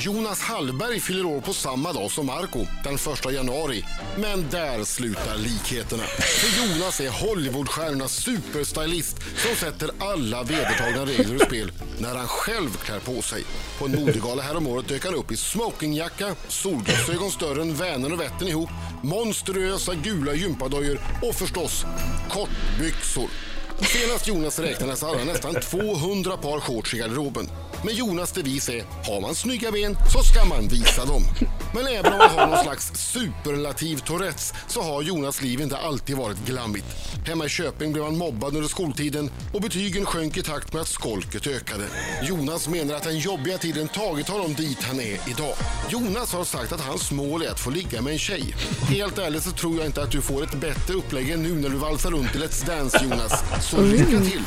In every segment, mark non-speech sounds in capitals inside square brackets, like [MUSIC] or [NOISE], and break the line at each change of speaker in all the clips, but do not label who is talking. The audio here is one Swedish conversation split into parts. Jonas Hallberg fyller år på samma dag som Marco, den 1 januari. Men där slutar likheterna. För Jonas är Hollywoodstjärnornas superstylist som sätter alla vedertagna regler ur spel när han själv klär på sig. På en modegala häromåret dök han upp i smokingjacka, solglasögon större än Vänern och Vättern ihop, monstruösa gula gympadojor och förstås kortbyxor. Senast Jonas räknades hade han nästan 200 par shorts i garderoben. Men Jonas devis är, har man snygga ben så ska man visa dem. Men även om man har någon slags superlativ Tourettes så har Jonas liv inte alltid varit glammigt. Hemma i Köping blev han mobbad under skoltiden och betygen sjönk i takt med att skolket ökade. Jonas menar att den jobbiga tiden tagit honom dit han är idag. Jonas har sagt att hans mål är att få ligga med en tjej. Helt ärligt så tror jag inte att du får ett bättre upplägg än nu när du valsar runt i Let's Dance Jonas. Så lycka till!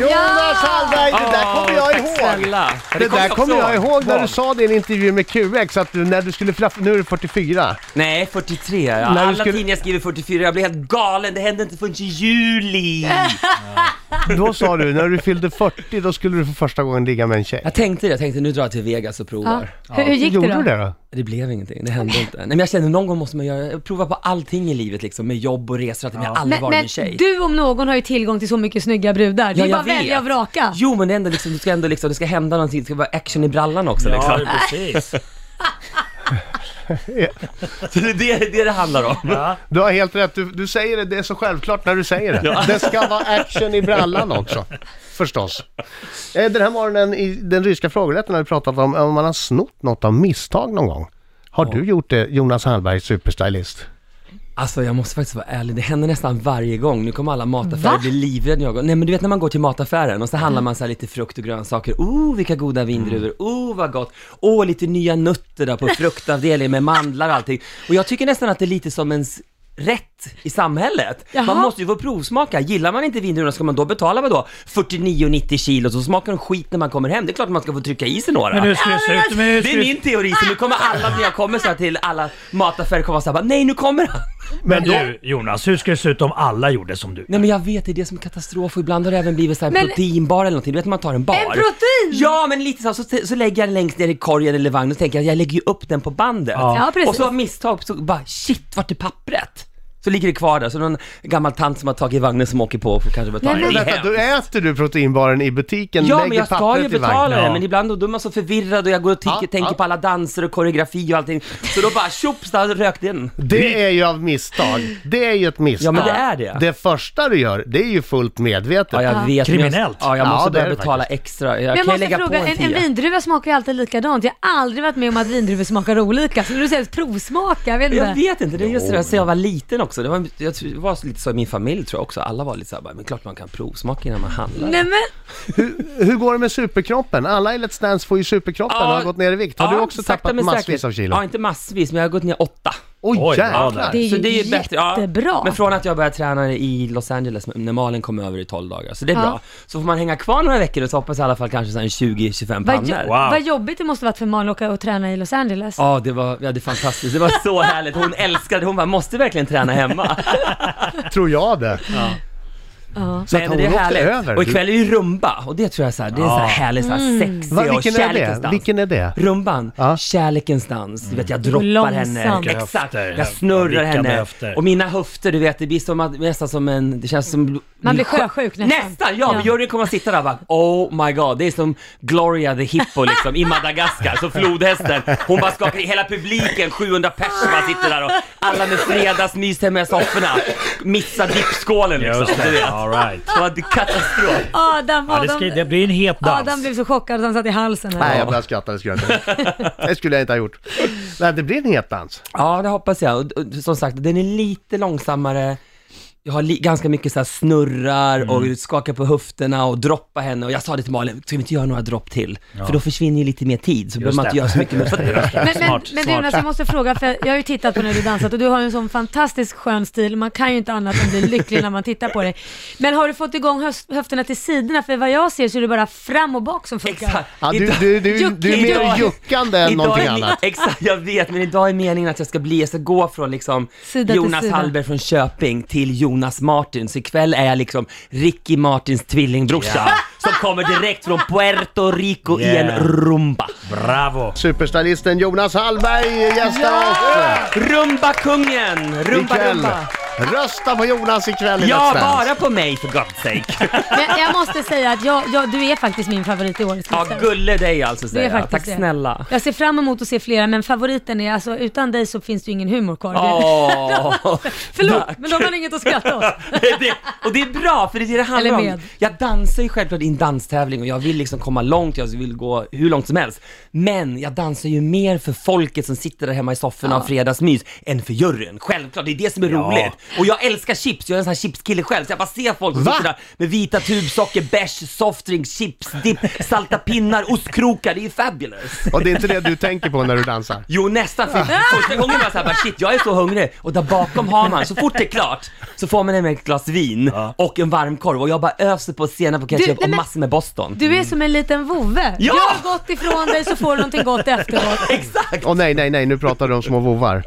Jonas Hallberg, det där kommer jag
tack
ihåg!
Snälla.
Det där
också
kommer jag ihåg när
barn.
du sa det i en intervju med QX, att du, när du skulle flaffa, nu är du 44.
Nej, 43. Ja.
När du
Alla
skulle-
tidningar skriver 44, jag blir helt galen. Det hände inte förrän i juli.
Äh. Då sa du, när du fyllde 40, då skulle du för första gången ligga med en tjej.
Jag tänkte det, jag tänkte nu drar jag till Vegas och
Ja.
provar.
Hur, hur gick det
Gjorde
då?
du det då?
Det blev ingenting, det hände inte. Nej men jag känner någon gång måste man göra, prova på allting i livet liksom, med jobb och resor och att jag har aldrig
Men,
varit med en
men
tjej.
du om någon har ju tillgång till så mycket snygga brudar. Det är
Ja, jag
bara att välja och
vet.
vraka.
Jo men det, är ändå liksom, det ska ändå liksom, det ska hända någonting, det ska vara action i brallan också
Ja,
liksom.
precis.
[LAUGHS]
[LAUGHS]
Så det är det, det är det handlar om.
Ja.
Du har helt rätt, du, du säger det, det är så självklart när du säger det. Det ska vara action i brallan också, förstås. Eh, Den här morgonen i den ryska frågerätten har vi pratat om om man har snott något av misstag någon gång. Har du gjort det, Jonas Hallberg, superstylist?
Alltså jag måste faktiskt vara ärlig, det händer nästan varje gång. Nu kommer alla mataffärer
Va?
bli livrädda när jag går. Nej men du vet när man går till mataffären och så handlar man så här lite frukt och grönsaker. Oh vilka goda vindruvor, oh vad gott. Åh oh, lite nya nötter där på fruktavdelningen med mandlar och allting. Och jag tycker nästan att det är lite som ens rätt i samhället.
Jaha.
Man måste ju få provsmaka. Gillar man inte vindruvorna ska man då betala vadå? 49,90 kilo så smakar de skit när man kommer hem. Det är klart att man ska få trycka i sig några.
Men hur skulle det se ut? Men hur
Det
skulle
är
det
min teori, så nu kommer alla när jag kommer så här till alla mataffärer kommer såhär nej nu kommer han.
Men du Jonas, hur skulle det se ut om alla gjorde som du?
Nej men jag vet, det är det som är katastrof och ibland har det även blivit så här
Men-
proteinbar eller någonting, du vet man tar en bar.
En protein?
Ja men lite så, här, så, så lägger jag den längst ner i korgen eller vagnen och tänker jag, jag lägger ju upp den på bandet.
Ja.
Ja, precis.
Och så av misstag så bara shit, vart är pappret? Så ligger det kvar där, så någon gammal tant som har tagit vagnen som åker på och får kanske betala.
Nej, men-
Det är
Vänta,
hemskt.
du äter du proteinbaren i butiken,
Ja
lägger
men jag ska
pappret
ju
i vagnen?
betala
Ja.
den, men ibland då, då är man så förvirrad och jag går och tycker,
Ja,
tänker
ja.
på alla danser och koreografi och allting. Så då bara tjops, där rök den.
Det är ju av misstag. Det är ju ett misstag.
Ja men det är det.
Det första du gör, det är ju fullt medvetet.
Ja, jag vet, men
Kriminellt.
Jag, ja, jag
Ja,
måste
det är
börja
det
betala extra. Jag kan
Men jag
ju
måste
lägga
fråga,
på en,
en, en
tia.
vindruva smakar ju alltid likadant. Jag har aldrig varit med om att vindruvor smakar olika. Så du säger att provsmaka, jag vet
Jag
inte.
vet inte, det är just det där sen jag var liten också. Det var, jag tror- det var lite så i min familj tror jag också. Alla var lite så här, bara, men klart man kan provsmaka innan man handlar.
Nej men,
Hur går det med superkroppen? Alla i Let's Dance får ju superkroppen och
Ja,
har gått ner i vikt. Har
ja,
du också
sakta
tappat
men
massvis
säkert.
av kilo?
Ja, inte massvis, men jag har gått ner åtta.
Oj,
Oj, ja,
jäklar!
där.
det är ju,
Så det är ju bättre.
jättebra.
Ja. Men från att jag började träna i Los Angeles när Malin kom över i 12 dagar, så det är
Ja.
bra. Så får man hänga kvar några veckor och så hoppas jag i alla fall kanske så här en 20-25
Vad,
pannor.
jo-
Wow.
vad jobbigt det måste varit för Malin att åka och träna i Los Angeles.
Ja, det var, ja, det är fantastiskt. Det var så [LAUGHS] härligt. Hon älskade, hon bara, måste verkligen träna hemma.
Tror jag det.
Ja.
Så att hon
men
åkte över.
Och ikväll är ju rumba och det tror jag så här, det är så här härligt, så
Mm.
här sexig
Va,
och
vilken är
kärlekens
det?
dans.
Vilken är det?
Rumban,
Ja.
kärlekens dans. Du vet jag droppar
Långsamt.
henne.
Vilka
Exakt.
höfter.
Jag snurrar
Vilka
henne.
höfter.
Och mina höfter, du vet, det blir som att, nästan som en, det känns som...
Man blir sjösjuk nästan.
Nästan, ja.
Ja.
ja. Juryn kommer att sitta där och bara, oh my god. Det är som Gloria the Hippo liksom i Madagaskar, så flodhästen. Hon bara skakar i hela publiken, 700 personer bara sitter där och alla med fredagsmys hemma i sofforna. Missar dippskålen liksom.
Just
Du
det,
vet.
all right.
Det var en katastrof.
Adam,
Ja, det,
Adam,
ska, det blir en het
Adam
dans.
blev så chockad att han satt i halsen här.
Nej, jag började skratta. Det skulle jag inte Det skulle jag inte ha gjort. [LAUGHS] Nej, det blir en het dans.
Ja, det hoppas jag. Och, och, som sagt, den är lite långsammare. Jag har li- ganska mycket så här snurrar och skakar på höfterna och droppa henne. Och jag sa det till Malin, ska vi inte göra några dropp till? För då försvinner ju lite mer tid, så behöver man
det.
inte göra så mycket med fötterna.
Men, men,
Smart,
men
smart.
Jonas, jag måste fråga, för jag har ju tittat på när du dansat och du har ju en sån fantastisk skön stil. Man kan ju inte annat än bli lycklig när man tittar på dig. Men har du fått igång höst, höfterna till sidorna? För vad jag ser så är det bara fram och bak som funkar.
Exakt.
Ja, du,
Idag-
du, du, du är mer
Idag-
juckande än
idag
någonting
är min-
annat.
[LAUGHS] Exakt, jag vet. Men idag är meningen att jag ska bli, jag ska gå från liksom
Sida till
Jonas
sida.
Hallberg från Köping till Jonas Martin, så ikväll är jag liksom Ricky Martins tvillingbrorsa [LAUGHS] som kommer direkt från Puerto Rico i en
Yeah.
rumba.
Bravo!
Superstylisten Jonas Hallberg gästar oss
Rumbakungen! Rumba,
ikväll.
rumba.
Rösta på Jonas ikväll i
Ja,
Let's Dance.
bara på mig för God's sake.
Men jag måste säga att jag, jag, du är faktiskt min favorit i årets
Ja,
lista.
gulle dig alltså
Du är
säger jag.
faktiskt
Tack
det.
snälla.
Jag ser fram emot att se flera, men favoriten är alltså utan dig så finns det ju ingen humor kvar.
Åh.
Förlåt, men de har inget att skratta åt.
[LAUGHS] det, och det är bra, för det är det det handlar
Eller med.
om. Jag dansar ju självklart i en danstävling och jag vill liksom komma långt, jag vill gå hur långt som helst. Men jag dansar ju mer för folket som sitter där hemma i sofforna och fredagsmys än för juryn. Självklart, det är det som är roligt. Och jag älskar chips, jag är en sån här chipskille själv, så jag bara ser folk som
Va?
sitter där med vita tubsocker, bärs, softdrink, chips, dipp, salta pinnar, ostkrokar. Det är ju fabulous.
Och det är inte det du tänker på när du dansar?
Jo nästan, för första gången var jag såhär bara shit jag är så hungrig och där bakom har man, så fort det är klart så får man nämligen ett glas vin och en varmkorv och jag bara öser på senap och
Du,
ketchup
nej
och
men-
massor med Boston.
Du är som en liten vovve.
Ja!
Du har gått ifrån dig så får du någonting gott efteråt.
Exakt!
Åh nej, nej, nej, nu pratar du om små vovar.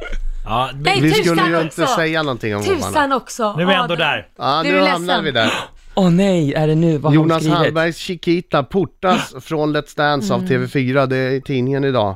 Ja,
Nej,
Vi
tusan
skulle ju
också.
inte säga någonting om vovarna.
Tusan också.
nu är vi ändå
Adam.
där.
Ja,
Du är
nu
ledsen.
hamnar vi där.
Åh nej, är det nu? Vad har hon
Jonas
skrivit?
Hallbergs Chiquita portas från Let's Dance av TV4, det är i tidningen idag.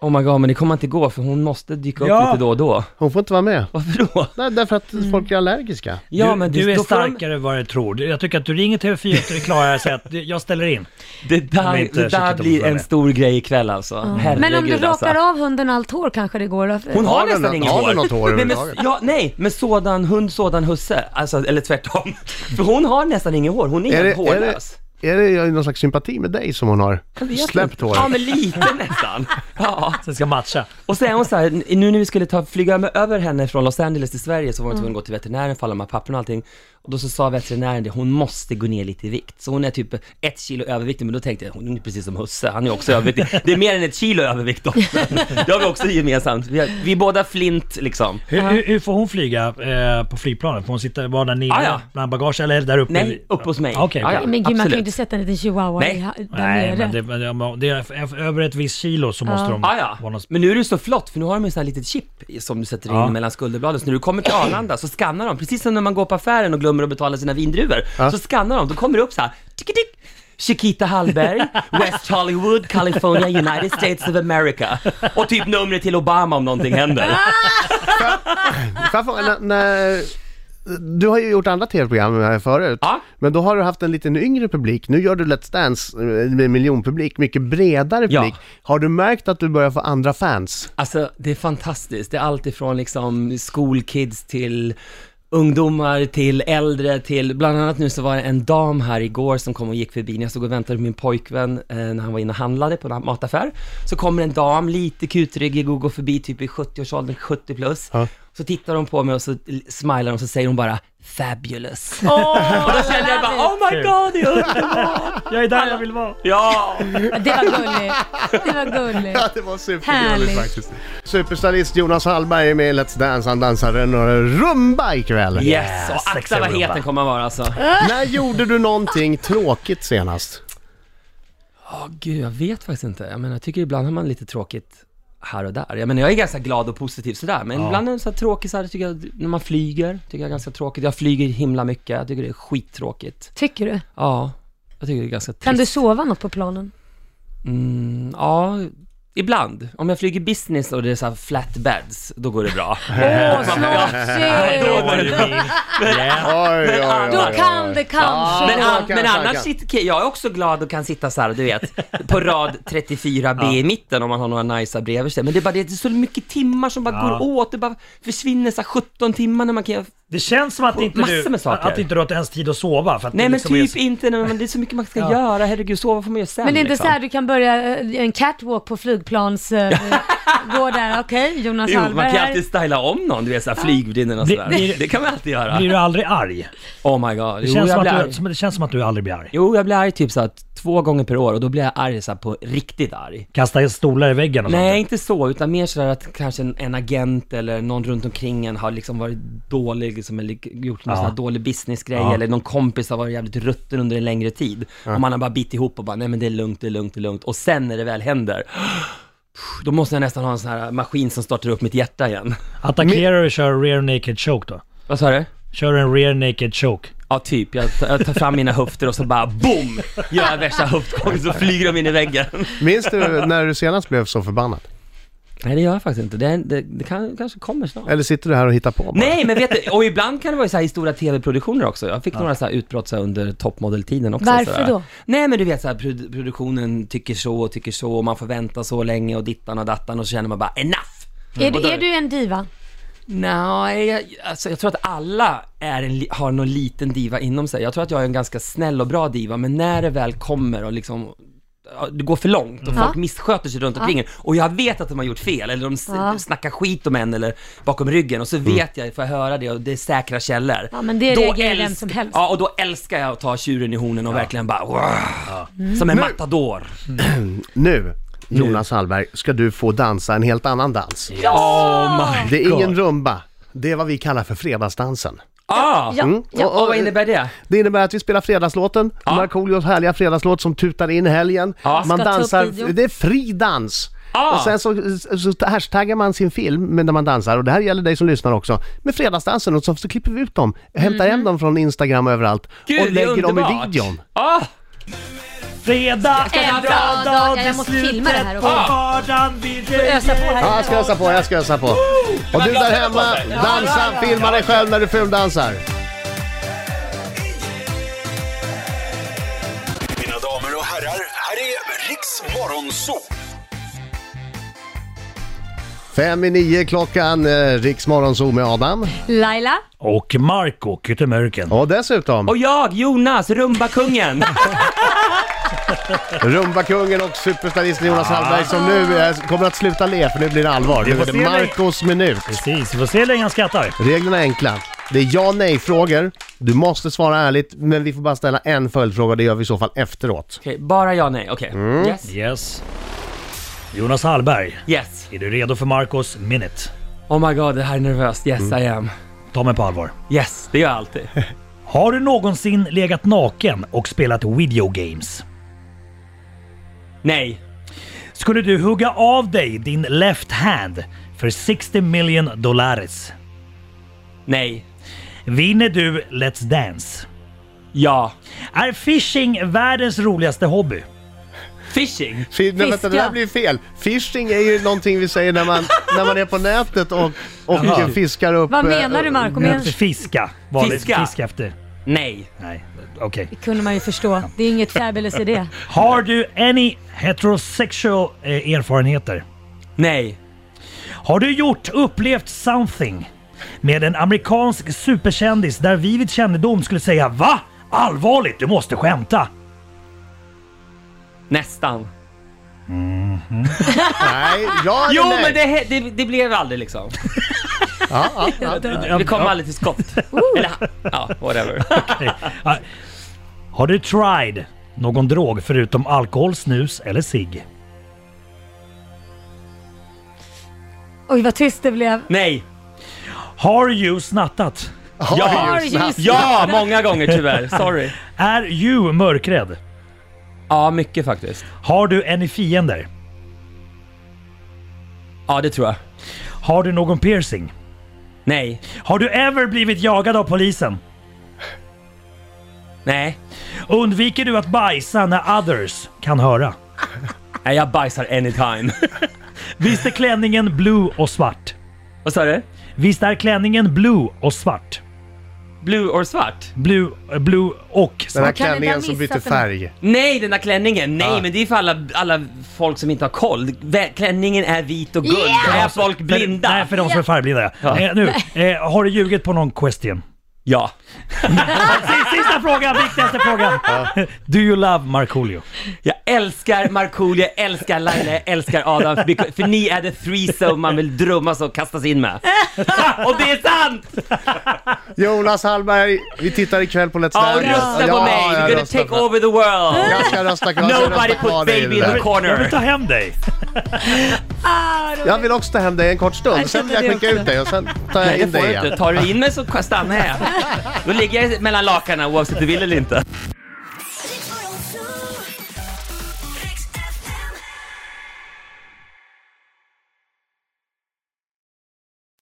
Oh my god, men det kommer inte gå för hon måste dyka upp
Ja.
lite då och då.
Hon får inte vara med.
Varför då?
Nej, därför att folk är allergiska.
Ja,
du,
men
du
det-
är
då får de-
starkare än vad du tror. Jag tycker att du ringer TV4 efter det är klara och säger att du- jag ställer in.
Det där,
är inte
det där
säkert om
blir
hon är
en
med.
stor grej ikväll alltså. Herregud
Men om du
alltså.
rakar av hunden allt hår kanske det går. då?
Hon har,
Har den
nästan
nå-
inget
har
hår.
den något hår
nej, men,
överhuvudtaget?
ja, nej, men sådan hund, sådan husse. Alltså, eller tvärtom. För hon har nästan inget hår. Hon är,
Är det,
helt
är, det,
hårlös.
är det någon slags sympati med dig som hon har släppt
Ja,
håret?
men lite
[LAUGHS]
nästan. Ja.
Sen ska matcha.
Och så är hon så här, nu när vi skulle ta, flyga med- över henne från Los Angeles till Sverige så var
Mm.
hon tvungen att gå till veterinären för alla de här papperna och allting. Och då så sa veterinären det, hon måste gå ner lite i vikt. Så hon är typ ett kilo överviktig, men då tänkte jag, hon är precis som husse, han är också överviktig. Det är mer än ett kilo
[LAUGHS]
övervikt då. Det har vi också gemensamt. Vi, har, vi är båda flint liksom.
Hur, hur, hur får hon flyga eh, på flygplanet? Får hon sitta bara där nere
Ah, ja.
bland bagage eller där uppe?
Nej, upp hos mig.
Ah, Okej.
Ah, ja.
Men gud, man kan ju
Absolut.
inte sätta en liten chihuahua
Nej.
i ha- där
Nej,
nere.
men det, men det, om det är över ett visst kilo så måste de
Ah, ja.
vara någon...
Men nu är det så flott för nu har de ju sån här litet chip i- som du sätter in
Ja.
mellan skulderbladen. Så när du kommer till Arlanda så skannar de, precis som när man går på affären och glömmer att betala sina vindruvor. Så skannar de, då kommer det upp så här, tick, tick. Chiquita
[LAUGHS]
Hallberg, West Hollywood, California, United States of America. Och typ numret till Obama om någonting
[LAUGHS]
händer.
Får jag fråga, när- när- Du har ju gjort andra tv-program här förut,
Ja.
men då har du haft en liten yngre publik. Nu gör du Let's Dance eh, med miljonpublik, mycket bredare
Ja.
publik. Har du märkt att du börjar få andra [LAUGHS] fans?
Alltså det är fantastiskt. Det är allt ifrån liksom skolkids till ungdomar, till äldre, till bland annat nu så var det en dam här igår som kom och gick förbi när jag stod och väntade på min pojkvän eh, när han var inne och handlade på en mataffär. Så kommer en dam, lite kutryggig och går förbi typ i 70-årsåldern, 70 plus. Så tittar hon på mig och så l- smilar hon och så säger hon bara “fabulous”.
Åh,
[LAUGHS] Och då kände jag bara “oh my god, det är underbart!”
[LAUGHS] Jag är där jag vill vara.
Ja!
det var gulligt. Det var gulligt.
det var
Härligt.
faktiskt. Superstylist Jonas Hallberg är med i Let's Dance. Han dansar en eh, rumba ikväll.
Yes!
Yes,
Och akta vad
sexig
het
rumba.
den kommer att vara alltså.
[LAUGHS] När gjorde du någonting tråkigt
[LAUGHS]
senast?
Ja, gud, jag vet faktiskt inte. Jag menar, jag tycker ibland har man lite tråkigt här och där. Jag menar, jag är ganska glad och positiv sådär, men ibland är det så här tråkisar, tycker jag, när man flyger, tycker jag är ganska tråkigt. Jag flyger himla mycket, jag tycker det är skittråkigt.
Tycker du?
Ja, jag tycker det är ganska trist.
Kan du sova något på planen?
Mm, ja, ibland. Om jag flyger business och det är så här flatbeds, då går det bra.
Åh,
Då var det
snofsigt!
min. Yeah.
Oj, oj, oj,
Då kan det kanske
Men,
Ja,
an,
kanske,
men annars
kanske.
sitter, jag är också glad och kan sitta så här, du vet, på rad
[LAUGHS]
34B i mitten om man har några najsa bredvid sig. Men det är bara det, det är så mycket timmar som bara
Ja.
går åt, det bara försvinner så här 17 timmar när man kan göra-
Det känns som att inte,
Massor
du,
med saker.
att inte du har ens tid att sova. För att
Nej
det
men
liksom är
typ
så-
inte, nej, men det är så mycket man
[LAUGHS]
ska göra, herregud, sova får man göra sen
Men det är inte
liksom.
så här du kan börja eh, en catwalk på flygplans... eh, [LAUGHS] gå där, okej, Jonas
Jo, man
Hallberg
kan
här.
alltid styla om någon, du vet såhär flygvärdinnan och
Blir-
sådär.
blir-
det kan man alltid göra.
Blir du aldrig arg?
Oh my god.
Det
jo,
känns,
jag
som
blir
att
arg.
du, som, det känns som att du aldrig blir arg.
Jo, jag blir arg typ såhär två gånger per år och då blir jag arg såhär på riktigt arg.
Kasta stolar i väggen och
Nej,
sånt.
inte så, utan mer sådär att kanske en, en agent eller någon runt omkring en har liksom varit dålig, liksom, eller gjort någon
Ja.
sån här dålig businessgrej,
Ja.
eller någon kompis har varit jävligt rutten under en längre tid. Och man har bara bitit ihop och bara, nej men det är lugnt, det är lugnt, det är lugnt. Och sen när det väl händer, då måste jag nästan ha en sån här maskin som startar upp mitt hjärta igen.
Attackerar och kör rear naked choke då?
Vad sa du?
Kör en rear naked choke.
Ja, typ. Jag tar, jag tar fram mina höfter och så bara BOOM! Gör jag värsta höftgången så flyger de in i väggen.
Minns du när du senast blev så förbannad?
Nej, det gör jag faktiskt inte. Det, det, det kan, kanske kommer snart.
Eller sitter du här och hittar på bara?
Nej, men vet du, och ibland kan det vara så här i stora tv-produktioner också. Jag fick några så här utbrott så här under toppmodeltiden också.
Varför
så här.
då?
Nej, men du vet så här, produ- produktionen tycker så och tycker så och man får vänta så länge och dittan och dattan och så känner man bara enough!
Är, du- är du en diva?
Nej, jag, alltså, jag tror att alla är en, li- har någon liten diva inom sig. Jag tror att jag är en ganska snäll och bra diva, men när det väl kommer och liksom ja, det går för långt och folk
Ja.
missköter sig runt omkring en och jag vet att de har gjort fel eller de s-
Ja.
snackar skit om en eller bakom ryggen och så
Mm.
vet jag, får jag höra det och det är säkra källor.
Ja, men det reagerar vem
älsk-
som helst.
Ja, och då älskar jag att ta tjuren i hornen och verkligen bara wow, Som en matador.
Nu, Jonas Hallberg, ska du få dansa en helt annan dans.
Oh my...
Det är ingen rumba. Det är vad vi kallar för fredagsdansen.
Ah.
Ja. ja.
Och, och vad innebär det?
Det innebär att vi spelar fredagslåten, Markoolios härliga fredagslåt som tutar in helgen.
Ja.
Man
Ska ta upp
dansar,
video.
det är fri dans.
Ja.
Och sen så, så hashtaggar man sin film med- när man dansar, och det här gäller dig som lyssnar också, med fredagsdansen och så, så klipper vi ut dem, hämtar hem dem från Instagram och överallt
Mhm. Gud,
och
det är
lägger dem i
underbart.
videon.
Ah.
Fredag
En bra dag. Jag måste filma det här också.
vardagen vid
Ösa på här.
Ja, jag ska ösa på, jag ska ösa på. Och du där hemma, dansa, filma dig själv när du fuldansar.
Mina damer och herrar, här är Riks Morgonzoo!
Fem i nio klockan, eh, Riksmorgonzoo med Adam.
Laila?
Och Marco Kyttemörken.
Och dessutom,
Och jag,
[LAUGHS]
Jonas, Rumbakungen.
Rumbakungen och superstylisten Jonas Hallberg som nu eh, kommer att sluta le för nu blir det allvar. Nu
Ah. får
är det
se dig.
Marcos minut.
Precis, vi får se hur länge han skrattar.
Reglerna är enkla. Det är ja nej-frågor. Du måste svara ärligt, men vi får bara ställa en följdfråga. Det gör vi i så fall efteråt.
Okej, bara ja, nej. Okej.
Mm.
Yes.
Yes. Jonas Hallberg,
Yes.
är du redo för Marcos minute?
Oh my god, det här är nervöst. Yes
Mm.
I am.
Ta mig på allvar.
Yes, det gör
[LAUGHS]
jag alltid.
Har du någonsin legat naken och spelat video games?
nej.
Skulle du hugga av dig din left hand för 60 million dollares?
Nej.
Vinner du Let's Dance?
Ja.
Är fishing världens roligaste hobby?
Fishing?
F- nej, vänta, det
Fiska.
där blir ju fel. Fishing är ju någonting vi säger när man, när man är på nätet och, och
Jaha.
fiskar upp...
Vad
eh,
menar du Marco? Men
Att Fiska. Var det
Fiska.
Fiska efter.
Nej.
Nej, okej.
det kunde man ju förstå. Det är inget fabulous i det.
Har du any heterosexual eh, erfarenheter?
Nej.
Har du gjort, upplevt something med en amerikansk superkändis där vi vid kännedom skulle säga VA? Allvarligt, du måste skämta!
Nästan.
Nej, ja eller
Jo,
nej?
men det, he- det, det blev aldrig liksom.
[LAUGHS] Ja, ja,
[LAUGHS]
ja.
Vi kom aldrig till skott.
[LAUGHS]
Eller, ja, whatever.
Ah, Har du tried någon drog förutom alkohol, snus eller cigg?
Oj vad tyst det blev.
Nej.
Har you snattat?
Har
ju
ju
snabbt.
Ja, många gånger tyvärr. Sorry.
Är you mörkrädd?
Ja, mycket faktiskt.
Har du any fiender?
Ja, det tror jag.
Har du någon piercing?
Nej.
Har du ever blivit jagad av polisen?
Nej.
Undviker du att bajsa när others kan höra?
Nej, jag bajsar anytime. [LAUGHS]
Visst är klänningen blue och svart?
Vad sa du?
Visst är klänningen blue och svart?
Blue or svart?
Blue, eh, blue och
Den här
svart.
Kan den där
klänningen som
missat
byter
den här?
färg.
Nej, den där klänningen. Nej, men det är för alla, alla folk som inte har koll. Vä- Klänningen är vit och guld.
Yeah!
Är folk blinda?
För, nej, för de som är färgblinda ja.
Ja.
Eh, nu, eh, har du ljugit på någon question?
Ja.
Sista, sista frågan, viktigaste frågan. Do you love Markoolio?
Jag älskar Markoolio, jag älskar Laila, jag älskar Adam. För, för ni är the threesome man vill drömmas och kastas in med. [LAUGHS] och det är sant!
Jonas Hallberg, vi tittar ikväll på Let's
Ja, och
Dance.
rösta på
Ja,
mig.
jag
We're gonna
röstar
take
på-
over the world.
Jag ska rösta kvar. jag ska
Nobody
rösta kvar
put
dig i
baby in
det
the
där.
Jag vill ta
corner.
hem dig.
Jag vill också ta hem dig en kort stund,
Jag
sen
känner
vill jag
det
skicka ut dig och sen tar jag
Nej, det
in
får
dig
du
igen.
inte. Tar du in mig så stannar jag. Då ligger jag mellan lakanen oavsett du vill eller inte.